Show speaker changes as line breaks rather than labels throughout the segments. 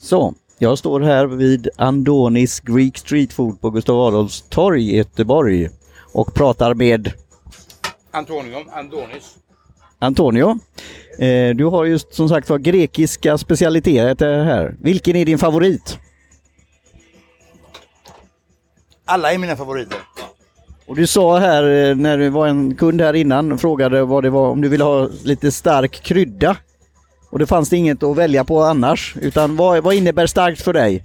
Så, jag står här vid Andonis Greek Street Food på Gustav Adolfs torg i Göteborg och pratar med
Antonio, Andonis.
Antonio. Eh, du har just som sagt var grekiska specialiteter här. Vilken är din favorit?
Alla är mina favoriter.
Och du sa här eh, när du var en kund här innan frågade vad det var om du ville ha lite stark krydda. Och det fanns det inget att välja på annars. Utan vad, vad innebär starkt för dig?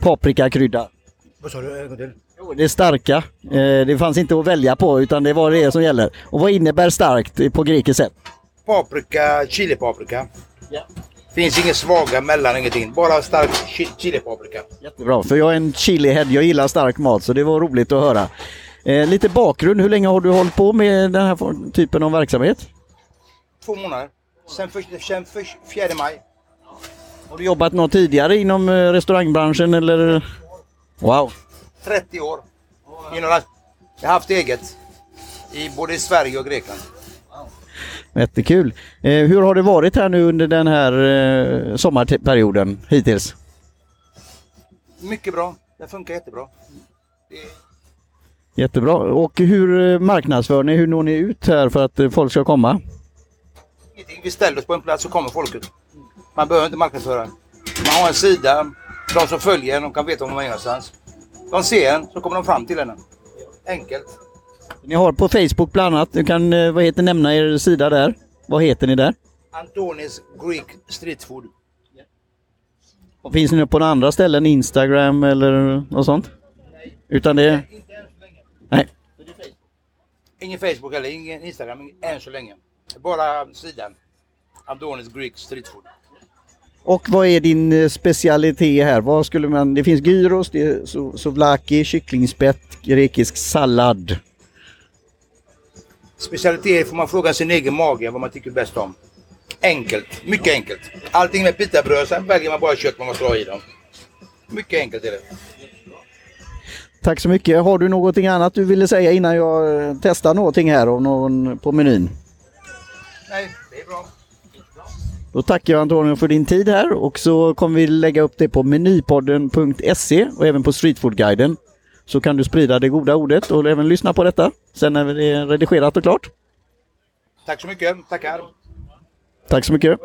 Paprikakrydda.
Vad sa du? En gång till.
Jo, Det är starka. Eh, Det fanns inte att välja på utan det var det som gäller. Och vad innebär starkt på grekiskt sätt?
Paprika, chilipaprika.
Ja.
Finns inget svaga mellan, ingenting. Bara stark chi- chilipaprika.
Jättebra, för jag är en chilihead. Jag gillar stark mat så det var roligt att höra. Eh, lite bakgrund, hur länge har du hållit på med den här for- typen av verksamhet?
Två månader. Sen, för, sen för, 4 maj.
Har du jobbat något tidigare inom eh, restaurangbranschen eller? Wow!
30 år. Inom allt. Jag har haft eget. I både i Sverige och Grekland.
Jättekul! Eh, hur har det varit här nu under den här eh, sommarperioden hittills?
Mycket bra. Det funkar jättebra.
Jättebra! Och hur eh, marknadsför ni? Hur når ni ut här för att eh, folk ska komma?
Ingenting. Vi ställer oss på en plats så kommer folket. Man behöver inte marknadsföra. Man har en sida. De som följer en de kan veta var man är någonstans. De ser en så kommer de fram till en. Enkelt.
Ni har på Facebook bland annat, du kan eh, vad heter, nämna er sida där. Vad heter ni där?
Antonis Greek Street Food.
Och Finns ni på några andra ställen? Instagram eller något sånt? Nej. Utan det...
Inte än så länge.
Nej.
Ingen Facebook eller ingen Instagram ingen- än så länge. Bara sidan. Antonis Greek Street Food.
Och vad är din eh, specialitet här? Vad skulle man... Det finns gyros, det är so- souvlaki, kycklingspett, grekisk sallad.
Specialitet får man fråga sin egen mage vad man tycker bäst om. Enkelt, mycket enkelt. Allting med pitabröd, sen väljer man bara kött man måste ha i dem. Mycket enkelt är det.
Tack så mycket. Har du någonting annat du ville säga innan jag eh, testar någonting här av någon på menyn?
Nej, det är bra.
Då tackar jag Antonio för din tid här och så kommer vi lägga upp det på menypodden.se E och även på Streetfoodguiden. Så kan du sprida det goda ordet och även lyssna på detta sen när det är redigerat och klart.
Tack så mycket, tackar.
Tack så mycket.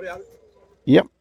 Ja.